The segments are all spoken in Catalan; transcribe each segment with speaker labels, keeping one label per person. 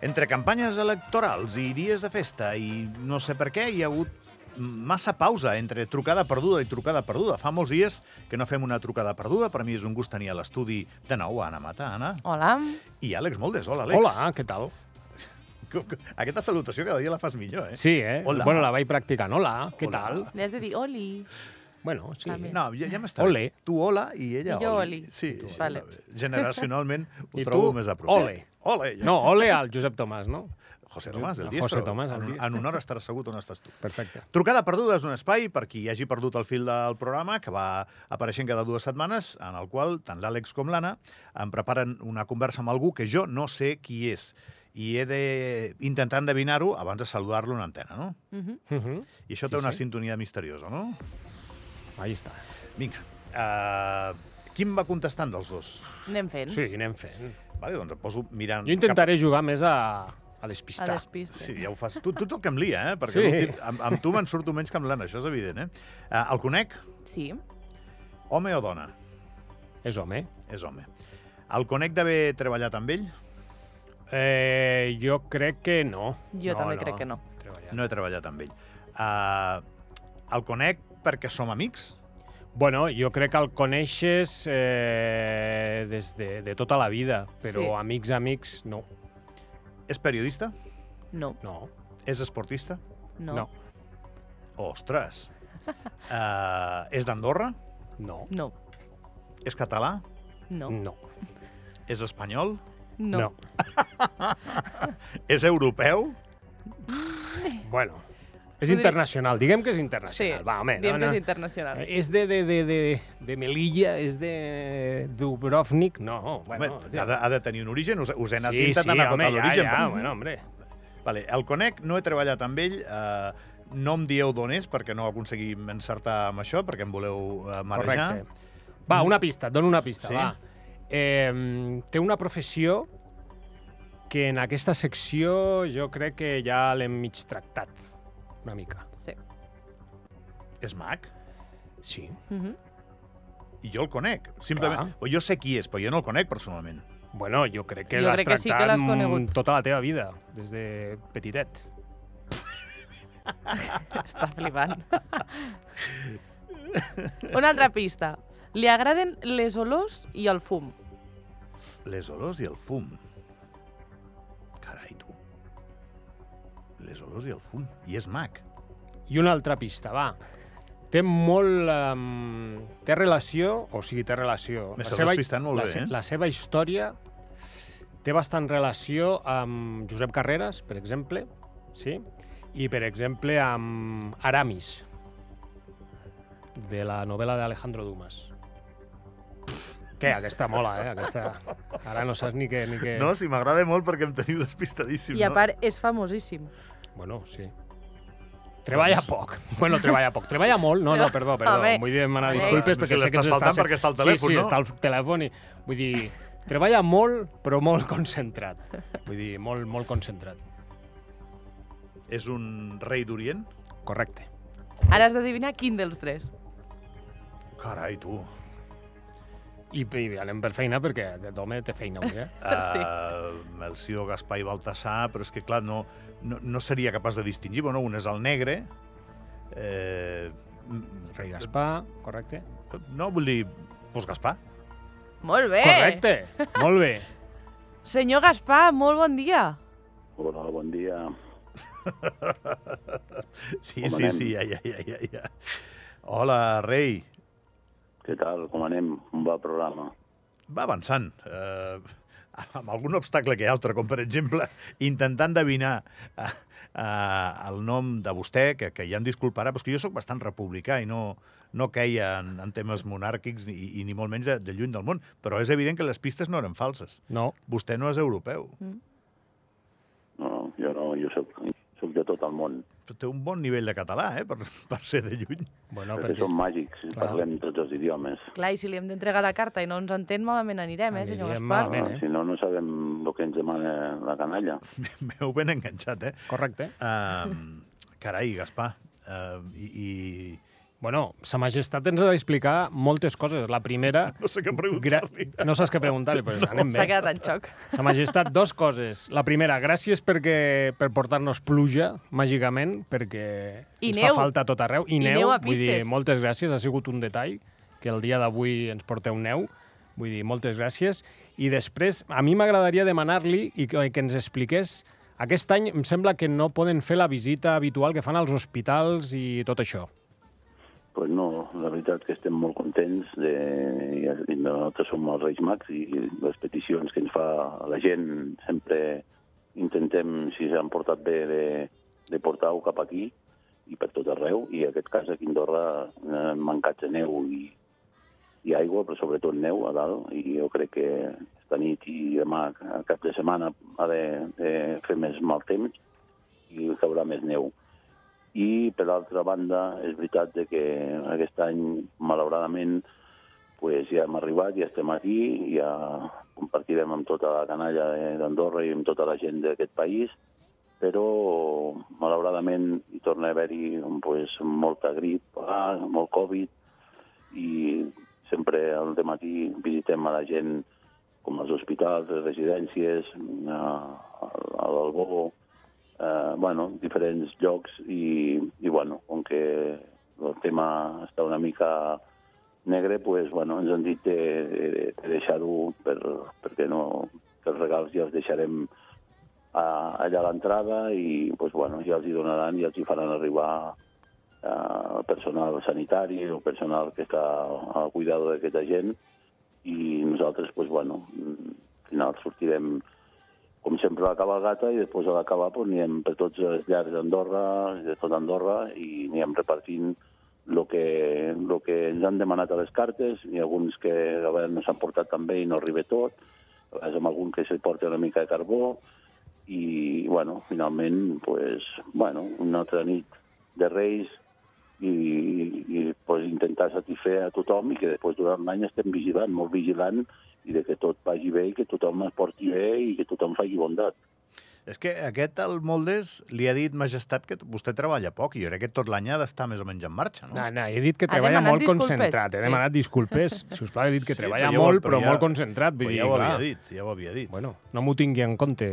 Speaker 1: Entre campanyes electorals i dies de festa i no sé per què hi ha hagut massa pausa entre trucada perduda i trucada perduda. Fa molts dies que no fem una trucada perduda. Per mi és un gust tenir a l'estudi de nou a Anna Mata, Anna.
Speaker 2: Hola.
Speaker 1: I Àlex Moldes. Hola, Àlex.
Speaker 3: Hola, què tal?
Speaker 1: Co- co- Aquesta salutació cada dia la fas millor, eh?
Speaker 3: Sí, eh?
Speaker 1: Hola.
Speaker 3: Bueno, la vaig practicant. Hola, què
Speaker 1: Hola.
Speaker 3: tal?
Speaker 2: Li has de dir oli.
Speaker 3: Bueno, sí.
Speaker 2: També.
Speaker 1: No, ja, ja m'està
Speaker 3: Ole.
Speaker 1: bé. Tu hola i ella
Speaker 2: I jo
Speaker 1: oli.
Speaker 2: oli.
Speaker 1: Sí,
Speaker 2: I tu
Speaker 1: sí,
Speaker 2: Vale.
Speaker 1: està bé. generacionalment ho
Speaker 3: I
Speaker 1: trobo
Speaker 3: tu,
Speaker 1: més a prop.
Speaker 3: ole.
Speaker 1: Ole.
Speaker 3: No, ole al Josep Tomàs, no?
Speaker 1: José Tomàs, el
Speaker 3: José
Speaker 1: diestro.
Speaker 3: Tomàs, el
Speaker 1: En-
Speaker 3: diestro.
Speaker 1: En honor estaràs assegut on estàs tu.
Speaker 3: Perfecte.
Speaker 1: Trucada perduda és un espai per qui hagi perdut el fil del programa, que va apareixent cada dues setmanes, en el qual tant l'Àlex com l'Anna em preparen una conversa amb algú que jo no sé qui és. I he d'intentar endevinar-ho abans de saludar-lo en antena, no?
Speaker 2: Uh -huh.
Speaker 3: Uh -huh.
Speaker 1: I això
Speaker 3: Sí,
Speaker 1: té una
Speaker 3: sí.
Speaker 1: sintonia misteriosa, no?
Speaker 3: Ahí està.
Speaker 1: Vinga, uh, quin va contestant dels dos?
Speaker 2: Anem fent.
Speaker 3: Sí, anem fent.
Speaker 1: Vale, doncs em poso mirant...
Speaker 3: Jo intentaré jugar més a, a
Speaker 2: A
Speaker 3: despistar.
Speaker 2: despiste.
Speaker 1: Sí, ja ho fas. Tu, tu ets el que em lia, eh? Perquè
Speaker 3: Sí.
Speaker 1: l'últim- amb, amb tu me'n surto menys que amb l'Anna, això és evident, eh? Uh, el conec?
Speaker 2: sí.
Speaker 1: Home o dona?
Speaker 3: És home.
Speaker 1: És home. El conec d'haver treballat amb ell?
Speaker 3: Eh, jo crec que no.
Speaker 2: Jo també crec que no.
Speaker 3: Treballat.
Speaker 1: No he treballat amb ell. Uh, el conec perquè som amics?
Speaker 3: Bueno, jo crec que el coneixes eh, des de, de tota la vida, però
Speaker 2: Sí.
Speaker 3: amics, amics, no.
Speaker 1: És periodista?
Speaker 2: No.
Speaker 3: No,
Speaker 1: És esportista?
Speaker 2: No.
Speaker 3: no, no.
Speaker 1: Ostres! Uh, és d'Andorra?
Speaker 3: No.
Speaker 2: No.
Speaker 1: És català?
Speaker 2: No.
Speaker 3: No.
Speaker 1: És espanyol?
Speaker 2: No.
Speaker 1: És europeu?
Speaker 3: Bueno, és
Speaker 2: Podria-
Speaker 3: internacional, diguem que és
Speaker 2: Sí.
Speaker 3: internacional. Va, home, Eh,
Speaker 2: Diem
Speaker 3: no,
Speaker 2: que
Speaker 3: no.
Speaker 2: és internacional.
Speaker 3: És de, de, de, de, de Melilla, és de Dubrovnik, no. Bueno,
Speaker 1: home, ha, de, ha de tenir un origen? Us, us he anat
Speaker 3: sí, sí,
Speaker 1: intentant
Speaker 3: home,
Speaker 1: acotar
Speaker 3: ja,
Speaker 1: l'origen.
Speaker 3: ja,
Speaker 1: però-
Speaker 3: bueno, hombre.
Speaker 1: Vale, el conec, no he treballat amb ell, eh, no em dieu d'on és perquè no aconseguim encertar amb això, perquè em voleu eh, marejar.
Speaker 3: Correcte. Va, una pista, et dono una pista,
Speaker 1: Sí?
Speaker 3: sí? va. Eh, té una professió que en aquesta secció jo crec que ja l'hem mig tractat una mica.
Speaker 2: Sí.
Speaker 1: És mag?
Speaker 3: Sí.
Speaker 2: Uh -huh.
Speaker 1: I jo el conec. Simplement, o jo sé qui és, però jo no el conec personalment.
Speaker 3: Bueno, jo crec que
Speaker 2: Jo
Speaker 3: l'has
Speaker 2: crec que sí que
Speaker 3: tractat
Speaker 2: l'has conegut.
Speaker 3: mm, tota la teva vida, des de petitet.
Speaker 2: Està flipant. Una altra pista. Li agraden les olors i el fum.
Speaker 1: Les olors i el fum. Carai, tu. Les olors i el fum. I és mag.
Speaker 3: I una altra pista, va. Té molt... Um, té relació, o sigui, té relació...
Speaker 1: M'estàs despistant molt
Speaker 3: la,
Speaker 1: bé,
Speaker 3: se-
Speaker 1: eh?
Speaker 3: la seva història té bastant relació amb Josep Carreras, per exemple, sí? I, per exemple, amb Aramis, de la novel·la d'Alejandro Dumas. Què? Aquesta mola, eh? Aquesta... Ara no saps ni què... Ni què...
Speaker 1: Eh. No, si m'agrada molt perquè em teniu despistadíssim.
Speaker 2: I a
Speaker 1: no?
Speaker 2: part és famosíssim.
Speaker 3: Bueno, sí. Doncs. Treballa poc. Bueno, treballa poc. Treballa molt. No, no, perdó, perdó.
Speaker 2: Home.
Speaker 3: Vull demanar
Speaker 2: Home.
Speaker 3: disculpes
Speaker 1: Si
Speaker 3: perquè
Speaker 1: l'estàs
Speaker 3: sé que ens
Speaker 1: faltant
Speaker 3: està... sent-
Speaker 1: perquè està al telèfon,
Speaker 3: sí, sí,
Speaker 1: no?
Speaker 3: està al telèfon i... Vull dir, treballa molt, però molt concentrat. Vull dir, molt, molt concentrat.
Speaker 1: És un rei d'Orient?
Speaker 3: Correcte.
Speaker 2: Ara has d'adivinar quin dels tres.
Speaker 1: Carai, tu.
Speaker 3: I, i anem per feina perquè aquest home té feina avui, eh?
Speaker 2: Sí.
Speaker 1: Uh, el Sió Gaspar i Baltasar, però és que, clar, no, no, no seria capaç de distingir. Bueno, un és el negre... Eh, mm,
Speaker 3: Rei Gaspar, correcte?
Speaker 1: No, vull dir... Doncs Gaspar.
Speaker 2: Molt bé!
Speaker 3: Correcte! Molt bé.
Speaker 2: Senyor Gaspar, molt bon dia.
Speaker 4: Hola, bon dia.
Speaker 1: Sí,
Speaker 4: Com
Speaker 1: sí,
Speaker 4: anem?
Speaker 1: sí, ja, ja, ja, ja, ja. Hola, rei.
Speaker 4: Què tal? Com anem? Com va el programa?
Speaker 1: va avançant. Eh, amb algun obstacle que altre, com per exemple intentar endevinar eh, eh, el nom de vostè, que, que ja em disculparà, però és que jo sóc bastant republicà i no, no queia en, en temes monàrquics i, i ni molt menys de, de lluny del món. Però és evident que les pistes no eren falses.
Speaker 3: No.
Speaker 1: Vostè no és europeu.
Speaker 4: No, no, jo no, jo soc, soc de tot el món.
Speaker 1: Però Té un bon nivell de català, eh, per, per ser de lluny.
Speaker 3: Bueno,
Speaker 4: perquè,
Speaker 3: perquè...
Speaker 4: som màgics,
Speaker 3: Clar.
Speaker 4: parlem tots els idiomes.
Speaker 2: Clar, i si li hem d'entregar la carta i no ens entén, malament anirem, eh, senyor
Speaker 3: Anirem
Speaker 2: Gaspar?
Speaker 3: malament.
Speaker 4: Ah,
Speaker 3: eh?
Speaker 4: Si no, no sabem el que ens demana la canalla.
Speaker 1: M'heu ben enganxat, eh?
Speaker 3: Correcte.
Speaker 1: Um, carai, Gaspar. Um, i, i,
Speaker 3: Bueno, sa majestat ens ha d'explicar moltes coses. La primera...
Speaker 1: No sé què
Speaker 3: Gra...
Speaker 1: preguntar-li.
Speaker 3: No saps què preguntar-li, però anem
Speaker 2: S'ha
Speaker 3: bé.
Speaker 2: quedat en xoc.
Speaker 3: Sa majestat, dos coses. La primera, gràcies perquè, per portar-nos pluja, màgicament, perquè
Speaker 2: I
Speaker 3: ens
Speaker 2: neu.
Speaker 3: fa falta a tot arreu.
Speaker 2: I
Speaker 3: I, neu,
Speaker 2: neu a
Speaker 3: vull dir,
Speaker 2: pistes.
Speaker 3: moltes gràcies, ha sigut un detall, que el dia d'avui ens porteu neu. Vull dir, moltes gràcies. I després, a mi m'agradaria demanar-li i que, que ens expliqués aquest any em sembla que no poden fer la visita habitual que fan als hospitals i tot això.
Speaker 4: Pues no, la veritat que estem molt contents. De... i Nosaltres som els Reis Mags i les peticions que ens fa la gent sempre intentem, si s'han portat bé, de, de portar-ho cap aquí i per tot arreu. I en aquest cas aquí a Andorra n'han mancat de neu i, i aigua, però sobretot neu a dalt. I jo crec que esta nit i demà, a cap de setmana, ha de, de fer més mal temps i caurà més neu. I, per altra banda, és veritat de que aquest any, malauradament, pues, ja hem arribat, ja estem aquí, ja compartirem amb tota la canalla de- d'Andorra i amb tota la gent d'aquest país, però, malauradament, hi torna a haver-hi pues, molta grip, ah, molt Covid, i sempre al matí visitem a la gent com els hospitals, les residències, a l'Albó, eh, bueno, diferents llocs i, i bueno, com que el tema està una mica negre, pues, bueno, ens han dit de, de, de deixar-ho per, perquè no, que els regals ja els deixarem a, allà a l'entrada i pues, bueno, ja els hi donaran i ja els hi faran arribar eh, el personal sanitari o personal que està al cuidado d'aquesta gent i nosaltres, pues, bueno, mm, al final sortirem com sempre, a la cabalgata i després a l'acabar pues, anirem per tots els llars d'Andorra, de tot Andorra, i anirem repartint el que, lo que ens han demanat a les cartes, i alguns que a vegades no s'han portat tan bé i no arriba tot, a vegades amb algun que se porta una mica de carbó, i, bueno, finalment, pues, bueno, una altra nit de Reis i, i pues, intentar satisfer a tothom i que després durant l'any estem vigilant, molt vigilant, i de que tot vagi bé i que tothom es porti bé i que tothom faci bondat.
Speaker 1: És que aquest, el Moldes, li ha dit, majestat, que vostè treballa poc i jo crec que tot l'any ha d'estar més o menys en marxa, no?
Speaker 3: No, no, he dit que
Speaker 2: Ha
Speaker 3: treballa
Speaker 2: demanat
Speaker 3: molt
Speaker 2: disculpes,
Speaker 3: concentrat. He
Speaker 2: sí.
Speaker 3: demanat disculpes. Si us plau, he dit que
Speaker 1: Sí,
Speaker 3: treballa
Speaker 1: però ja ho-
Speaker 3: molt,
Speaker 1: però
Speaker 3: però
Speaker 1: ja-
Speaker 3: molt concentrat. Vull
Speaker 1: Però
Speaker 3: dir,
Speaker 1: ja ho
Speaker 3: clar,
Speaker 1: havia dit, ja ho havia dit.
Speaker 3: Bueno, no m'ho tingui en compte,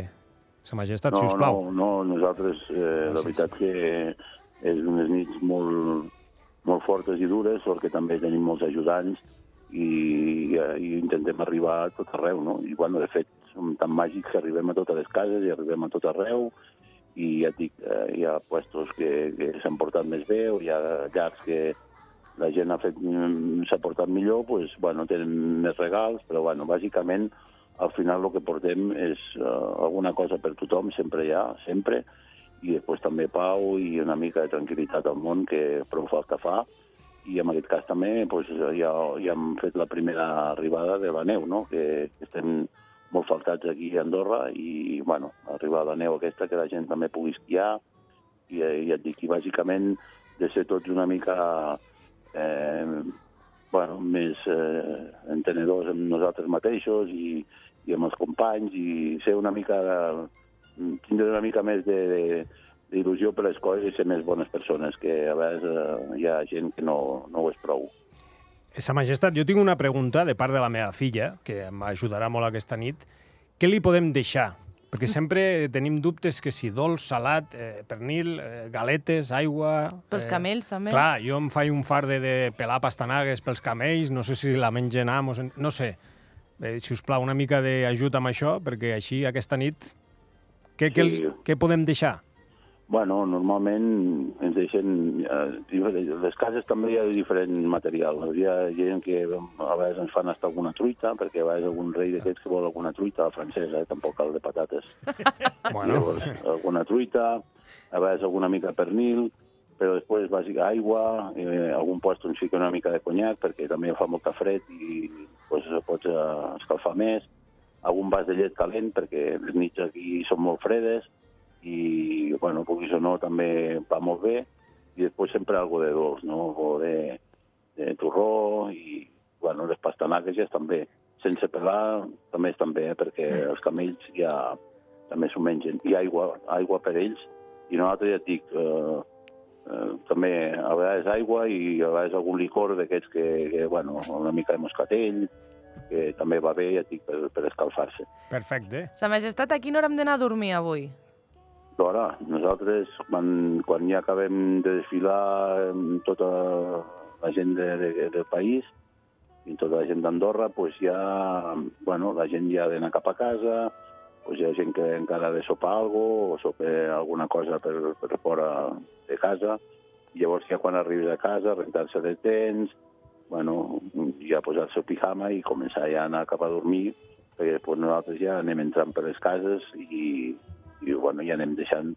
Speaker 3: sa majestat,
Speaker 4: No,
Speaker 3: si us plau.
Speaker 4: no, no, nosaltres, eh, la veritat que és unes nits molt, molt fortes i dures, perquè també tenim molts ajudants i, i intentem arribar a tot arreu, no? I, bueno, de fet, som tan màgics que arribem a totes les cases i arribem a tot arreu i ja et dic, eh, hi ha puestos que, que s'han portat més bé o hi ha llars que la gent ha fet mm, s'ha portat millor, doncs, bueno, tenen més regals, però bueno, bàsicament al final el que portem és eh, alguna cosa per tothom, sempre hi ha, sempre, i després també pau i una mica de tranquil·litat al món, que prou falta fa, i en aquest cas també doncs, ja, ja hem fet la primera arribada de la neu, no? que estem molt faltats aquí a Andorra i, bueno, arribar la neu aquesta, que la gent també pugui esquiar, i, eh, i et dic, i bàsicament de ser tots una mica eh, bueno, més eh, entenedors amb nosaltres mateixos i, i amb els companys i ser una mica de, tindre una mica més de, de, d'il·lusió per les coses i ser més bones persones, que a vegades eh, hi ha gent que no, no ho és prou.
Speaker 3: Sa majestat, jo tinc una pregunta de part de la meva filla, que m'ajudarà molt aquesta nit. Què li podem deixar? Perquè sempre tenim dubtes que si dolç, salat, eh, pernil, eh, galetes, aigua...
Speaker 2: Pels
Speaker 3: eh,
Speaker 2: camells, també.
Speaker 3: Clar, jo em faig un far de, de pelar pastanagues pels camells, no sé si la mengen amos, no sé. Eh, si us plau, una mica d'ajut amb això, perquè així aquesta nit... Què, què,
Speaker 4: Sí.
Speaker 3: què podem deixar?
Speaker 4: Bueno, normalment ens deixen... Eh, diferent- les cases també hi ha diferent material. Hi ha gent que a vegades ens fan estar alguna truita, perquè a vegades algun rei d'aquests que vol alguna truita, la francesa, eh, tampoc el de patates.
Speaker 3: Bueno,
Speaker 4: Llavors, alguna truita, a vegades alguna mica de pernil, però després, bàsica, aigua, eh, algun post on fica una mica de conyac, perquè també fa molta fred i pues, pots eh, escalfar més, algun vas de llet calent, perquè les nits aquí són molt fredes, i, bueno, puguis o no, també va molt bé, i després sempre algo de dolç, no? O de, de torró i, bueno, les pastanagues ja estan bé. Sense pelar també estan bé, eh? perquè els camells ja també s'ho mengen. I aigua, aigua per ells. I nosaltres ja et dic, eh, eh, també a vegades aigua i a vegades algun licor d'aquests que, que, bueno, una mica de moscatell, que també va bé, ja et dic, per, per escalfar-se.
Speaker 3: Perfecte.
Speaker 2: Sa Majestat, a quina hora hem d'anar a dormir avui?
Speaker 4: D'hora, nosaltres, quan, quan ja acabem de desfilar amb tota la gent de, de, del país i tota la gent d'Andorra, pues ja, bueno, la gent ja ha d'anar cap a casa, pues hi ha gent que encara ha de sopar algo o sopar alguna cosa per, per fora de casa. Llavors ja quan arribis a casa, rentar-se de temps, bueno, ja posar-se el pijama i començar ja a anar cap a dormir, perquè després nosaltres ja anem entrant per les cases i, i bueno, ja anem deixant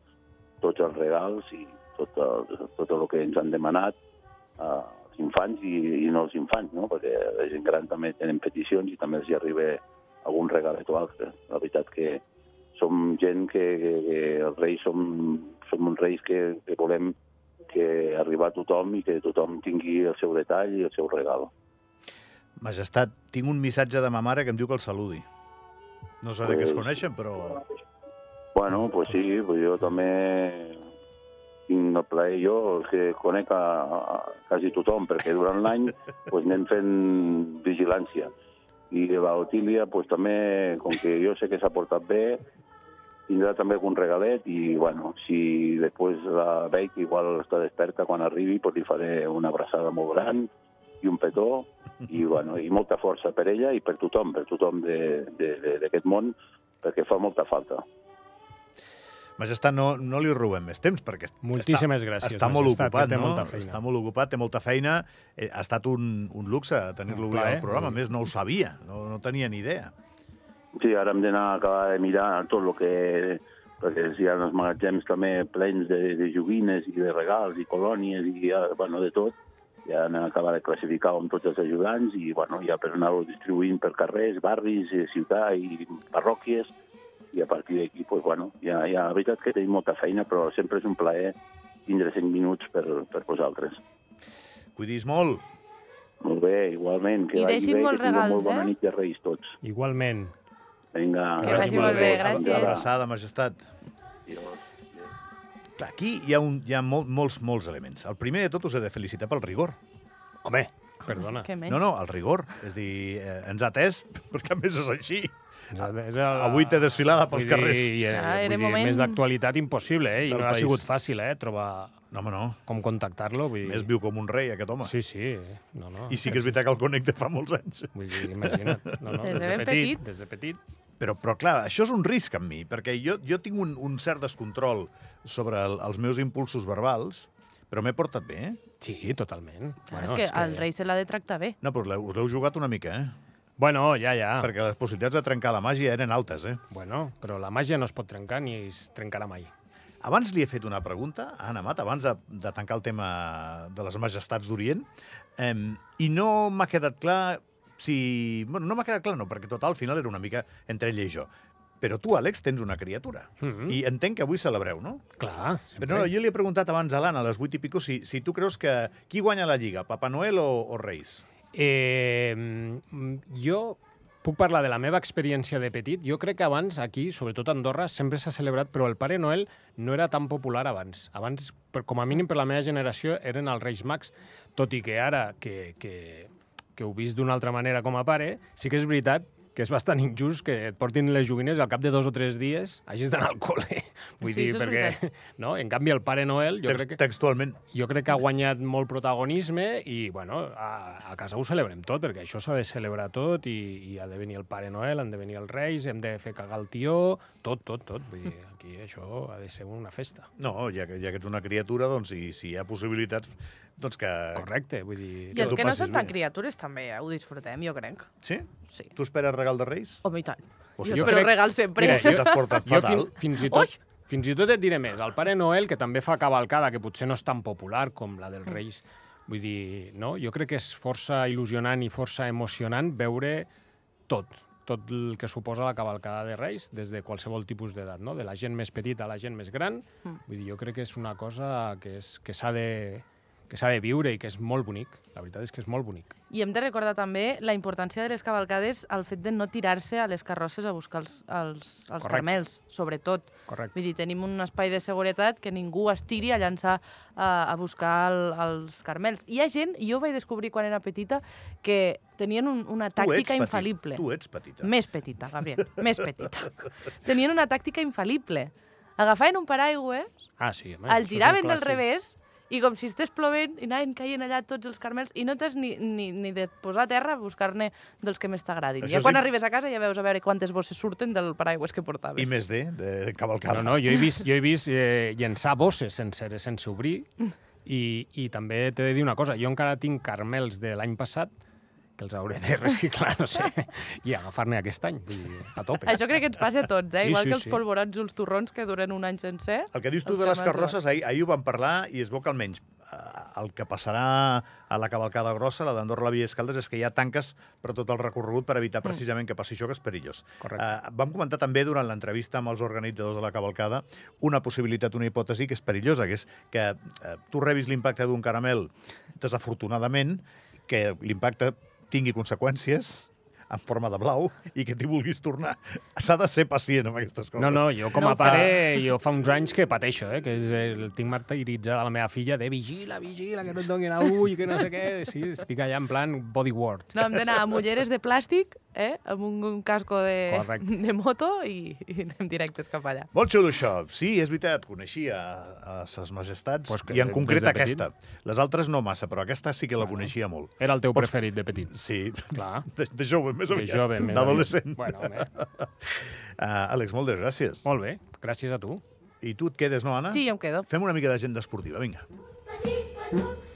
Speaker 4: tots els regals i tot el, tot el que ens han demanat eh, els infants i, i no els infants, no? perquè la gent gran també tenen peticions i també els hi arriba algun regalet o altre. La veritat que som gent que, que, que els reis som, som uns reis que, que volem que arribar a tothom i que tothom tingui el seu detall i el seu regal.
Speaker 1: Majestat, tinc un missatge de ma mare que em diu que el saludi. No sé de què es coneixen, però...
Speaker 4: Bueno, pues sí, pues jo també tinc el plaer jo el que conec a, a quasi tothom, perquè durant l'any pues, anem fent vigilància. I la Otília, pues, també, com que jo sé que s'ha portat bé, tindrà també algun regalet i, bueno, si després la veig igual està desperta quan arribi, pues, li faré una abraçada molt gran i un petó i, bueno, i molta força per ella i per tothom, per tothom de- de- de- d'aquest món, perquè fa molta falta.
Speaker 1: Majestat, no, no li robem més temps, perquè est-
Speaker 3: Moltíssimes
Speaker 1: està,
Speaker 3: gràcies,
Speaker 1: està molt
Speaker 3: Majestat,
Speaker 1: ocupat,
Speaker 3: que té
Speaker 1: no?
Speaker 3: molta feina.
Speaker 1: Està molt ocupat, té molta feina. Eh, ha estat un, un luxe tenir-lo
Speaker 3: Un
Speaker 1: avui
Speaker 3: plaer.
Speaker 1: al programa. A més, no ho sabia, no, no tenia ni idea.
Speaker 4: Sí, ara hem d'anar a acabar de mirar tot el que... perquè hi ha els magatzems també plens de, de joguines i de regals i colònies i ja, bueno, de tot. Ja han acabat de classificar amb tots els ajudants i bueno, ja per anar-ho distribuint per carrers, barris, eh, ciutat i parròquies i a partir d'aquí, pues, bueno, ja, ja, la veritat que tenim molta feina, però sempre és un plaer tindre 5 minuts per, per vosaltres.
Speaker 1: Cuidis molt.
Speaker 4: Molt bé, igualment, que
Speaker 2: I
Speaker 4: vagi
Speaker 2: deixin
Speaker 4: bé,
Speaker 2: molts
Speaker 4: que tingueu
Speaker 2: regals,
Speaker 4: molt bona
Speaker 2: eh?
Speaker 4: nit de Reis tots.
Speaker 3: Igualment.
Speaker 4: Vinga,
Speaker 2: Que vagi molt bé, gràcies.
Speaker 1: Una abraçada, Majestat.
Speaker 4: Adéu.
Speaker 1: Clar, Aquí hi ha, un, hi ha mol, molts, molts elements. El primer de tot us he de felicitar pel rigor.
Speaker 3: Home, perdona.
Speaker 2: Que menys.
Speaker 1: No, no, el rigor. És a dir, eh, ens ha atès, perquè a més és així.
Speaker 3: És
Speaker 1: Avui té desfilada pels
Speaker 3: Vull
Speaker 1: carrers.
Speaker 3: Dir, eh,
Speaker 2: Ah, era
Speaker 3: vull dir,
Speaker 2: moment-
Speaker 3: Més d'actualitat impossible, eh? I
Speaker 1: Del
Speaker 3: no ha
Speaker 1: país.
Speaker 3: sigut fàcil, eh? Trobar
Speaker 1: No, home, no.
Speaker 3: com contactar-lo. Vull... dir-
Speaker 1: Més viu com un rei, aquest home.
Speaker 3: Sí, sí. eh, No, no.
Speaker 1: I sí que és veritat que el conec de fa molts anys.
Speaker 3: Vull dir, imagina't. No, no,
Speaker 2: Des de
Speaker 3: des, de
Speaker 2: ben
Speaker 3: petit,
Speaker 2: petit.
Speaker 3: Des de petit.
Speaker 1: Però, però clar, això és un risc amb mi, perquè jo, jo tinc un, un cert descontrol sobre el, els meus impulsos verbals, però m'he portat bé, eh?
Speaker 3: Sí, totalment.
Speaker 2: Clar, Ah, és, que al rei se l'ha de tractar bé.
Speaker 1: No, però l'heu- us l'heu jugat una mica, eh?
Speaker 3: Bueno, ja, ja.
Speaker 1: Ah. Perquè les possibilitats de trencar la màgia eren altes, eh?
Speaker 3: Bueno, però la màgia no es pot trencar ni es trencarà mai.
Speaker 1: Abans li he fet una pregunta a Anna Mat, abans de, de tancar el tema de les majestats d'Orient, eh, i no m'ha quedat clar si... Bueno, no m'ha quedat clar, no, perquè total, al final era una mica entre ella i jo. Però tu, Àlex, tens una criatura.
Speaker 3: Mhm.
Speaker 1: I entenc que avui celebreu, no?
Speaker 3: Clar, sempre.
Speaker 1: Però no, jo li he preguntat abans a l'Anna, a les 8 i pico, si, si tu creus que qui guanya la Lliga, Papa Noel o, o Reis?
Speaker 3: Eh, mm, jo puc parlar de la meva experiència de petit. Jo crec que abans aquí, sobretot a Andorra, sempre s'ha celebrat, però el Pare Noel no era tan popular abans. Abans, per, com a mínim per la meva generació, eren els Reis Mags, tot i que ara, que, que, que ho vist d'una altra manera com a pare, sí que és veritat que és bastant injust que et portin les joguines i al cap de dos o tres dies hagis d'anar al col·le. Vull
Speaker 2: Sí,
Speaker 3: dir,
Speaker 2: això és
Speaker 3: perquè... No? En canvi, el Pare Noel, jo
Speaker 1: Tex-
Speaker 3: crec que
Speaker 1: Textualment.
Speaker 3: jo crec que ha guanyat molt protagonisme i, bueno, a, a casa ho celebrem tot, perquè això s'ha de celebrar tot i, i ha de venir el Pare Noel, han de venir els Reis, hem de fer cagar el tió, tot, tot, tot. Vull dir, aquí això ha de ser una festa.
Speaker 1: No, ja que, ja que ets una criatura, doncs si, si hi ha possibilitats, doncs que...
Speaker 3: Correcte, vull dir...
Speaker 2: I els
Speaker 1: t'ho
Speaker 2: que no
Speaker 1: passis
Speaker 2: són tan
Speaker 1: bé.
Speaker 2: criatures també eh, ho disfrutem, jo crec.
Speaker 1: Sí?
Speaker 2: Sí.
Speaker 1: Tu esperes regal de Reis?
Speaker 2: Home, i tant.
Speaker 1: Pues
Speaker 2: jo
Speaker 1: jo
Speaker 2: espero
Speaker 3: crec-
Speaker 2: regal sempre.
Speaker 1: Mira, jo
Speaker 2: jo...
Speaker 1: t'has portat
Speaker 3: Jo
Speaker 1: fatal.
Speaker 3: fin- fins, i
Speaker 2: Ui!
Speaker 3: tot, fins i tot et diré més. El Pare Noel, que també fa cavalcada, que potser no és tan popular com la
Speaker 2: Mm.
Speaker 3: dels Reis, vull dir, no? Jo crec que és força il·lusionant i força emocionant veure tot tot el que suposa la cavalcada de Reis des de qualsevol tipus d'edat, no? de la
Speaker 2: Mm.
Speaker 3: gent més petita a la gent més gran. Vull dir, jo crec que és una cosa que és que s'ha de que s'ha de viure i que és molt bonic. La veritat és que és molt bonic.
Speaker 2: I hem de recordar també la importància de les cavalcades al fet de no tirar-se a les carrosses a buscar els, els, els
Speaker 3: Correcte.
Speaker 2: carmels, sobretot.
Speaker 3: Correcte.
Speaker 2: Vull dir, tenim un espai de seguretat que ningú es tiri a llançar a, a buscar el, els carmels. Hi ha gent, jo ho vaig descobrir quan era petita, que tenien un, una tàctica infal·lible.
Speaker 1: Tu ets petita.
Speaker 2: Més petita, Gabriel, més petita. Tenien una tàctica infal·lible. Agafaven un paraigüe,
Speaker 3: Ah, sí. Home, això
Speaker 2: el
Speaker 3: és un
Speaker 2: giraven del
Speaker 3: clàssic.
Speaker 2: revés i com si estés plovent i anaven caient allà tots els carmels i no t'has ni, ni, ni de posar a terra a buscar-ne dels que més t'agradin.
Speaker 1: Això
Speaker 2: Ja
Speaker 1: és
Speaker 2: quan
Speaker 1: im-
Speaker 2: arribes a casa ja veus a veure quantes bosses surten del paraigües que portaves.
Speaker 1: I més D, de cavalcada.
Speaker 3: No, no, jo he vist, jo he vist eh, llençar bosses sense, sense obrir i, i també t'he de dir una cosa, jo encara tinc carmels de l'any passat que els hauré de reciclar, no sé, i agafar-ne aquest any, vull dir, a tope.
Speaker 2: Això crec que ens passa a tots, eh?
Speaker 3: Sí,
Speaker 2: Igual
Speaker 3: sí,
Speaker 2: que els
Speaker 3: sí.
Speaker 2: polvorons o els torrons que duren un any sencer.
Speaker 1: El que dius tu
Speaker 2: eh? Els
Speaker 1: de les
Speaker 2: carmels
Speaker 1: carrosses, ahir, ahir ho vam parlar i es veu que almenys eh, el que passarà a la cavalcada grossa, la d'Andorra la Via Escaldes, és que hi ha tanques per tot el recorregut per evitar precisament que passi això, que és perillós.
Speaker 3: Correcte.
Speaker 1: Eh, vam comentar també durant l'entrevista amb els organitzadors de la cavalcada una possibilitat, una hipòtesi que és perillosa, que és que eh, tu rebis l'impacte d'un caramel desafortunadament, que l'impacte tingui conseqüències en forma de blau i que t'hi vulguis tornar. S'ha de ser pacient amb aquestes coses.
Speaker 3: No, no, jo com
Speaker 2: No
Speaker 3: a
Speaker 2: ho
Speaker 3: pare, jo fa uns anys que pateixo, eh, que és el, tinc martiritzada la meva filla de vigila, vigila, que no et donin a ull, que no sé què. Sí, estic allà en plan bodyguard.
Speaker 2: No, hem d'anar amb ulleres de plàstic, eh? amb un, un casco de,
Speaker 3: Correcte. de
Speaker 2: de moto i, i anem directes cap allà.
Speaker 1: Molt xulo això. Sí, és veritat, coneixia a ses majestats,
Speaker 3: Pues
Speaker 1: pues
Speaker 3: que
Speaker 1: i en
Speaker 3: des
Speaker 1: concret
Speaker 3: de petit.
Speaker 1: aquesta. Les altres no massa, però aquesta sí que la coneixia molt.
Speaker 3: Era el teu
Speaker 1: Pots-
Speaker 3: preferit de petit.
Speaker 1: Sí,
Speaker 3: Clar.
Speaker 1: de, de jove, més
Speaker 3: De
Speaker 1: aviat.
Speaker 3: jove, més
Speaker 1: D'adolescent.
Speaker 3: Bueno, home,
Speaker 1: Uh, Àlex, moltes gràcies.
Speaker 3: molt bé, gràcies a tu.
Speaker 1: I tu et quedes, no, Anna?
Speaker 2: Sí, jo em quedo.
Speaker 1: Fem una mica d'agenda esportiva, vinga.
Speaker 5: Pati, patu,